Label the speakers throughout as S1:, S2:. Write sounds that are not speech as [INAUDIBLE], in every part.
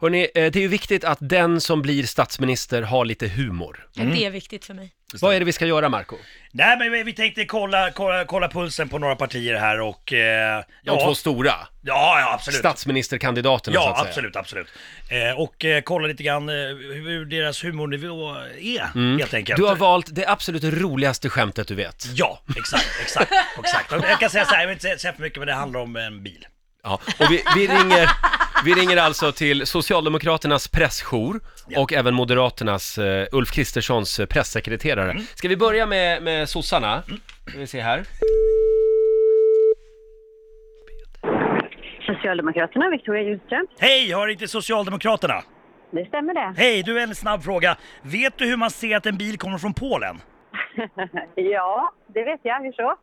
S1: Hörrni, eh, det är ju viktigt att den som blir statsminister har lite humor.
S2: Ja, Det är viktigt för mig.
S1: Vad är det vi ska göra, Marco?
S3: Nej men vi- vi tänkte kolla, kolla, kolla pulsen på några partier här och... Eh,
S1: De två
S3: ja,
S1: stora
S3: ja, ja absolut.
S1: statsministerkandidaterna, så
S3: Ja,
S1: att säga.
S3: absolut, absolut. Eh, och eh, kolla lite grann eh, hur deras humornivå är, helt enkelt.
S1: Mm. Du har valt det absolut roligaste skämtet du vet.
S3: Ja, exakt,
S1: [LAUGHS]
S3: exakt, exakt. Och Jag kan säga så här, jag vill inte säga- säga för mycket, men det handlar om en bil.
S1: Ja, och vi,
S3: [LAUGHS]
S1: vi, ringer, vi ringer alltså till Socialdemokraternas pressjour och även Moderaternas eh, Ulf Kristerssons eh, pressekreterare.
S3: Mm.
S1: Ska vi börja med, med sossarna? Ska vi se här.
S4: Socialdemokraterna, Victoria Hjulström.
S3: Hej, hör inte Socialdemokraterna?
S4: Det
S3: [LAUGHS]
S4: stämmer det.
S3: Hej, du en snabb fråga. Vet du hur man ser att en bil kommer från Polen?
S4: Ja, det vet jag. Hur så?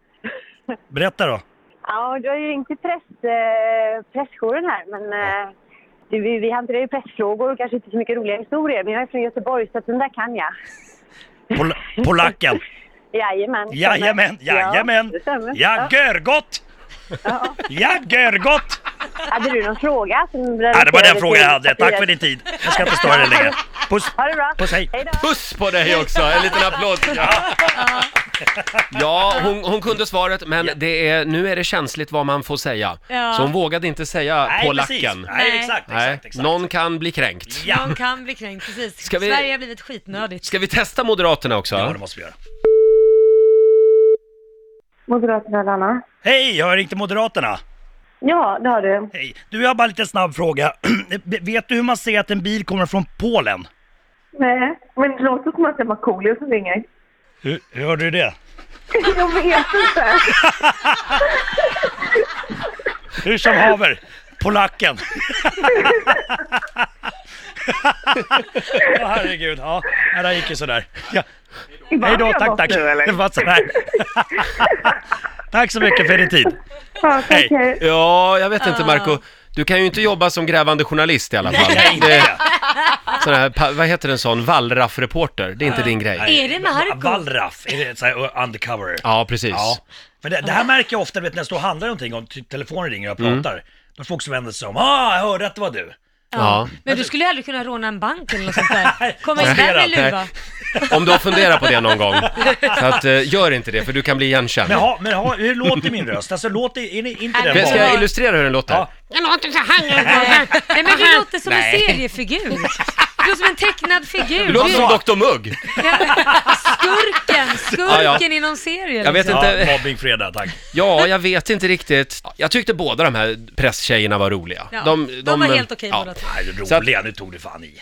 S3: Berätta då.
S4: [LAUGHS] Ja, och du har ju ringt till press, eh, pressjouren här, men eh, du, vi, vi hanterar ju pressfrågor och kanske inte så mycket roliga historier. Men jag är från Göteborg, så att den där kan jag.
S3: Pol polacken.
S4: Jajamän. stämmer.
S3: Jajamän,
S4: Ja,
S3: jajamän.
S4: det stämmer.
S3: Ja, görgott! Ja, görgott!
S4: Hade du någon fråga? Som
S3: Ja, det var den frågan jag hade. Tack för din tid. Jag ska inte störa dig längre. Puss!
S4: Ha det bra.
S3: Puss, hej.
S4: då.
S1: Puss på dig också! En liten
S3: [LAUGHS]
S1: applåd! Ja, ja hon, hon kunde svaret, men det är, nu är det känsligt vad man får säga.
S2: Ja.
S1: Så hon vågade inte säga polacken.
S3: Nej, exakt,
S1: Nej,
S3: exakt, exakt.
S1: någon kan bli kränkt.
S3: Ja.
S2: Någon kan bli kränkt, precis.
S1: Ska vi-
S2: Sverige har blivit skitnödigt.
S1: Ska vi testa Moderaterna också?
S3: Ja, det måste vi göra.
S4: Moderaterna, Lana.
S3: Hej, hör inte Moderaterna?
S4: Ja, det har du.
S3: Hej. Du, jag har bara en liten snabb fråga. [CLEARS THROAT] Vet du hur man ser att en bil kommer från Polen?
S4: Nej, men det låter som att det är Markoolio som ringer.
S3: Hur, hur hörde du det?
S4: Jag vet inte.
S3: Hur som haver, polacken. [LAUGHS] Åh, herregud, ja, det där gick ju sådär. Ja. Hej då, tack, tack. Det var
S2: [LAUGHS]
S3: sådär. tack så mycket för din tid.
S4: Ja, tack,
S3: Hej.
S4: hej.
S1: Ja, jag vet
S3: Ah.
S1: inte Marco. Du kan ju inte jobba som grävande journalist i alla fall.
S3: Nej, inte
S1: Det,
S3: det.
S1: sån här, pa- vad heter en sån? Wallraff-reporter. Det är inte din grej.
S2: Är det Marco?
S3: Wallraff, är det såhär undercover?
S1: Ja, precis.
S3: Ja. För det, det här märker jag ofta du vet, när jag står och handlar någonting och ty- telefonen ringer och jag
S1: Mm.
S3: pratar. Då folk som vänder sig om. Ah, jag hörde att det var du.
S1: Ja.
S2: Men du skulle ju aldrig kunna råna en bank eller något sånt
S1: [LAUGHS]
S2: där. Komma in där
S3: Notera.
S2: med luva.
S1: Om du har funderat på det någon
S3: [LAUGHS]
S1: gång. Så att, eh, gör inte det, för du kan bli igenkänd.
S3: Men, ha, men ha, hur låter min röst? Alltså låter, är ni inte
S2: Nej,
S3: den
S1: Men Ska jag
S3: vanliga?
S1: illustrera hur den låter?
S3: Ja.
S5: Jag låter så här.
S2: Nej. [LAUGHS] Nej men du låter som en
S1: Nej.
S2: seriefigur. Du låter som en tecknad figur.
S1: Du låter
S2: Du-
S1: som Dr Mugg.
S2: Skurken, skurken
S1: [LAUGHS] Ja, ja.
S2: inom serien.
S1: Jag vet
S2: liksom.
S1: inte.
S3: Ja, mobbingfredag, tack.
S1: Ja, jag vet inte riktigt. Jag tyckte båda de här presstjejerna var roliga.
S2: Ja, de var helt okej båda två.
S3: Nej, det
S1: Så att-
S3: roliga, nu tog du fan i.